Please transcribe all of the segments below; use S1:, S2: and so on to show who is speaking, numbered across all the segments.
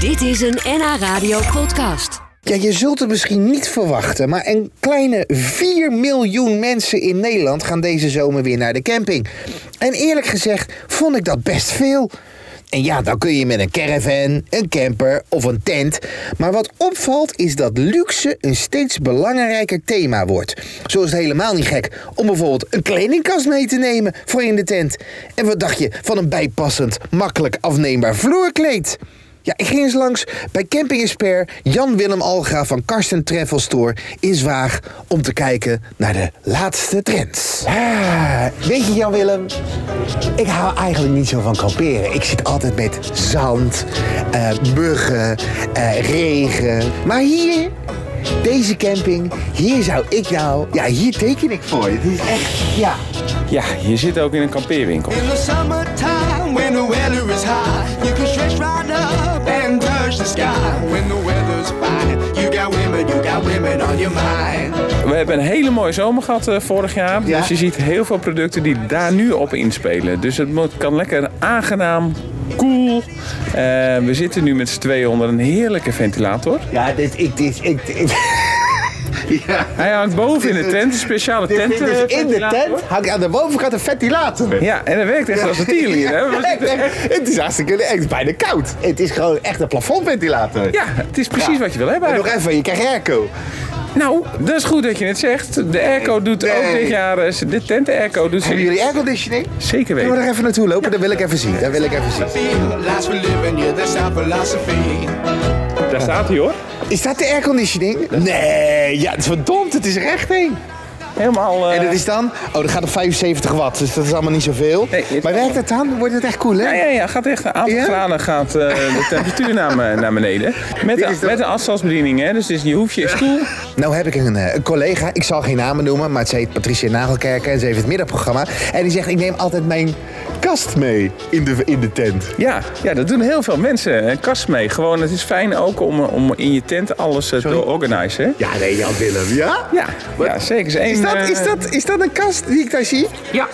S1: Dit is een NH Radio podcast.
S2: Ja, je zult het misschien niet verwachten, maar een kleine 4 miljoen mensen in Nederland gaan deze zomer weer naar de camping. En eerlijk gezegd vond ik dat best veel. En ja, dan kun je met een caravan, een camper of een tent. Maar wat opvalt is dat luxe een steeds belangrijker thema wordt. Zo is het helemaal niet gek om bijvoorbeeld een kledingkast mee te nemen voor in de tent. En wat dacht je van een bijpassend, makkelijk afneembaar vloerkleed? Ja, ik ging eens langs bij campingexpert Jan-Willem Alga van Karsten Travel Store in Zwaag om te kijken naar de laatste trends. Ah, weet je Jan-Willem, ik hou eigenlijk niet zo van kamperen. Ik zit altijd met zand, eh, muggen, eh, regen. Maar hier, deze camping, hier zou ik nou... Ja, hier teken ik voor. Het is echt, ja...
S3: Ja, je zit ook in een kampeerwinkel.
S4: In the summertime, when the weather is high, you can stretch right up and touch the sky. When the weather's fine, you got women, you got women on your mind.
S3: We hebben een hele mooie zomer gehad eh, vorig jaar.
S2: Ja.
S3: Dus je ziet heel veel producten die daar nu op inspelen. Dus het moet- kan lekker aangenaam, koel. Eh, we zitten nu met z'n tweeën onder een heerlijke ventilator.
S2: Ja, dit, ik, dit, ik, dit- ja.
S3: Hij hangt boven in de tent, een speciale
S2: Dit
S3: tent.
S2: vindt dus
S3: eh,
S2: in de
S3: ventilator.
S2: tent hangt aan de bovenkant een ventilator.
S3: Ja, en dat werkt echt als een tierlier. hè? We
S2: Echt,
S3: zitten-
S2: echt. Het is hartstikke het is bijna koud. Het is gewoon echt een plafondventilator.
S3: Ja, het is precies wat je wil hebben.
S2: En nog
S3: eigenlijk.
S2: even, je krijgt airco.
S3: Nou, dat is goed dat je het zegt. De airco doet
S2: Nee.
S3: ook dit jaar... eh, De tent airco doet
S2: Hebben
S3: ze...
S2: jullie airconditioning?
S3: Zeker
S2: Kunnen we
S3: weten.
S2: er even naartoe lopen? Dat wil ik even zien. Dat wil ik even zien.
S4: Feel last for living, yeah, that's our philosophy.
S3: Daar staat hij hoor.
S2: Is dat de airconditioning? Nee, ja, het is verdomd. Het is er echt één.
S3: Helemaal... eh,
S2: En dat is dan? Oh, dat gaat op 75 watt, dus dat is allemaal niet zoveel.
S3: Nee, dit-
S2: Maar werkt dat dan? Wordt het echt cool, hè?
S3: Ja, ja, ja. Gaat echt een aantal
S2: Ja?
S3: graden gaat, eh, de temperatuur naar, me- naar beneden. Met,
S2: Dit
S3: de,
S2: is de-
S3: met de afstandsbediening, hè. Dus, dus je hoeft je stoel...
S2: Nou heb ik een, eh, een collega, ik zal geen namen noemen, maar ze heet Patricia Nagelkerken en ze heeft het middagprogramma. En die zegt, ik neem altijd mijn kast mee in de, in de tent.
S3: Ja, ja, dat doen heel veel mensen. Een kast mee. Gewoon, het is fijn ook om, om in je tent alles eh, te organiseren. hè.
S2: Ja, nee, Jan Willem, ja?
S3: Ja, ja, zeker. Is, één,
S2: Is dat,
S3: eh,
S2: is, dat, is dat een kast die ik daar zie? Nou,
S3: Ja.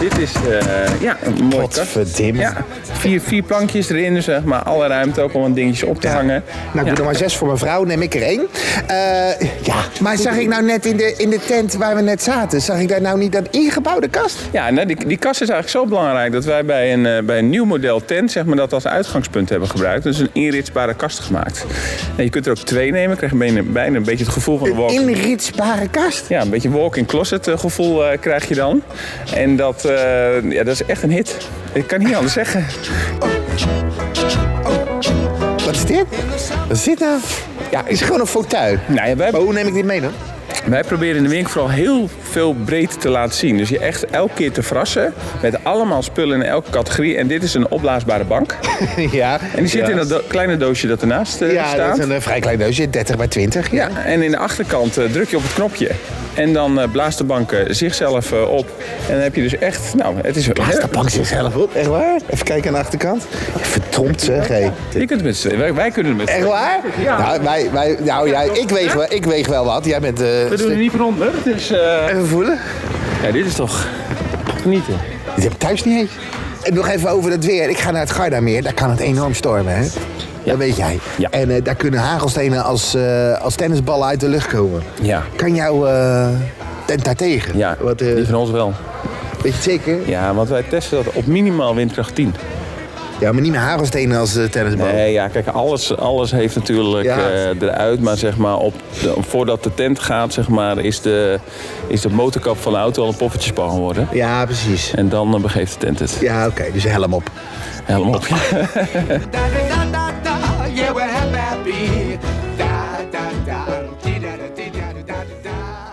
S3: Dit is eh, ja, een mooi kast.
S2: Godverdimme.
S3: Ja, vier, vier plankjes erin, zeg maar. Alle ruimte ook om wat dingetjes op te hangen.
S2: Nou, ik doe
S3: Ja.
S2: er maar zes voor mijn vrouw, neem ik er één. Eh, ja, maar zag ik nou net in de, in de tent waar we net zaten, zag ik daar nou niet dat ingebouwde kast?
S3: Ja, nou, die, die kast is eigenlijk zo belangrijk dat wij bij een, eh, bij een nieuw model tent zeg maar, dat als uitgangspunt hebben gebruikt. Dus een inritsbare kast gemaakt. En je kunt er ook twee nemen, krijg je bijna, bijna een beetje het gevoel van een walk.
S2: Inritsbare kast?
S3: Ja, een beetje walk-in closet eh, gevoel eh, krijg je dan. En dat, eh, ja, dat is echt een hit. Ik kan niet anders zeggen.
S2: Wat is dit? Wat is dit nou? Ja, is gewoon een fauteuil.
S3: Nou ja, wij,
S2: Maar hoe neem ik dit mee dan?
S3: wij proberen in de winkel vooral heel veel breed te laten zien. Dus je echt elke keer te verrassen met allemaal spullen in elke categorie. En dit is een opblaasbare bank.
S2: ja.
S3: En die zit in dat do- kleine doosje dat ernaast eh,
S2: Ja,
S3: staat.
S2: dat is een eh, vrij klein doosje, 30 bij 20. Ja.
S3: Ja, en in de achterkant eh, druk je op het knopje. En dan eh, blaast de bank eh, zichzelf eh, op. En dan heb je dus echt, nou, het is...
S2: Blaast de bank zichzelf op, echt waar? Even kijken aan de achterkant. Verdomd zeg, hé.
S3: Je kunt het met z'n tweeën. wij, wij kunnen het met z'n
S2: Echt waar?
S3: Ja.
S2: Nou, wij, wij, nou ja, ik weeg, wel, ik weeg wel wat. Jij bent... eh,
S3: We doen er niet van onder, dus... eh,
S2: Even voelen.
S3: Ja, dit is toch genieten.
S2: Dit heb ik thuis niet eens. En nog even over dat weer. Ik ga naar het Gardameer. Daar kan het enorm stormen, hè? Dat weet jij.
S3: Ja.
S2: En eh, daar kunnen hagelstenen als, eh, als tennisballen uit de lucht komen.
S3: Ja.
S2: Kan jouw eh tent daartegen?
S3: Ja,
S2: Wat, eh,
S3: die van ons wel.
S2: weet je het zeker?
S3: Ja, want wij testen dat op minimaal windkracht 10.
S2: Ja, maar niet meer hagelstenen als eh, tennisballen.
S3: Nee, ja, kijk, alles, alles heeft natuurlijk
S2: Ja.
S3: eh, eruit. Maar zeg maar, op de- voordat de tent gaat, zeg maar, is de, is de motorkap van de auto al een poffertjespan geworden.
S2: Ja, precies.
S3: En dan eh, begeeft de tent het.
S2: Ja, oké, dus helm op.
S3: Helemaal op.
S4: Da da da da da, yeah, we're happy. Da da da, dee da da dee da da da da da.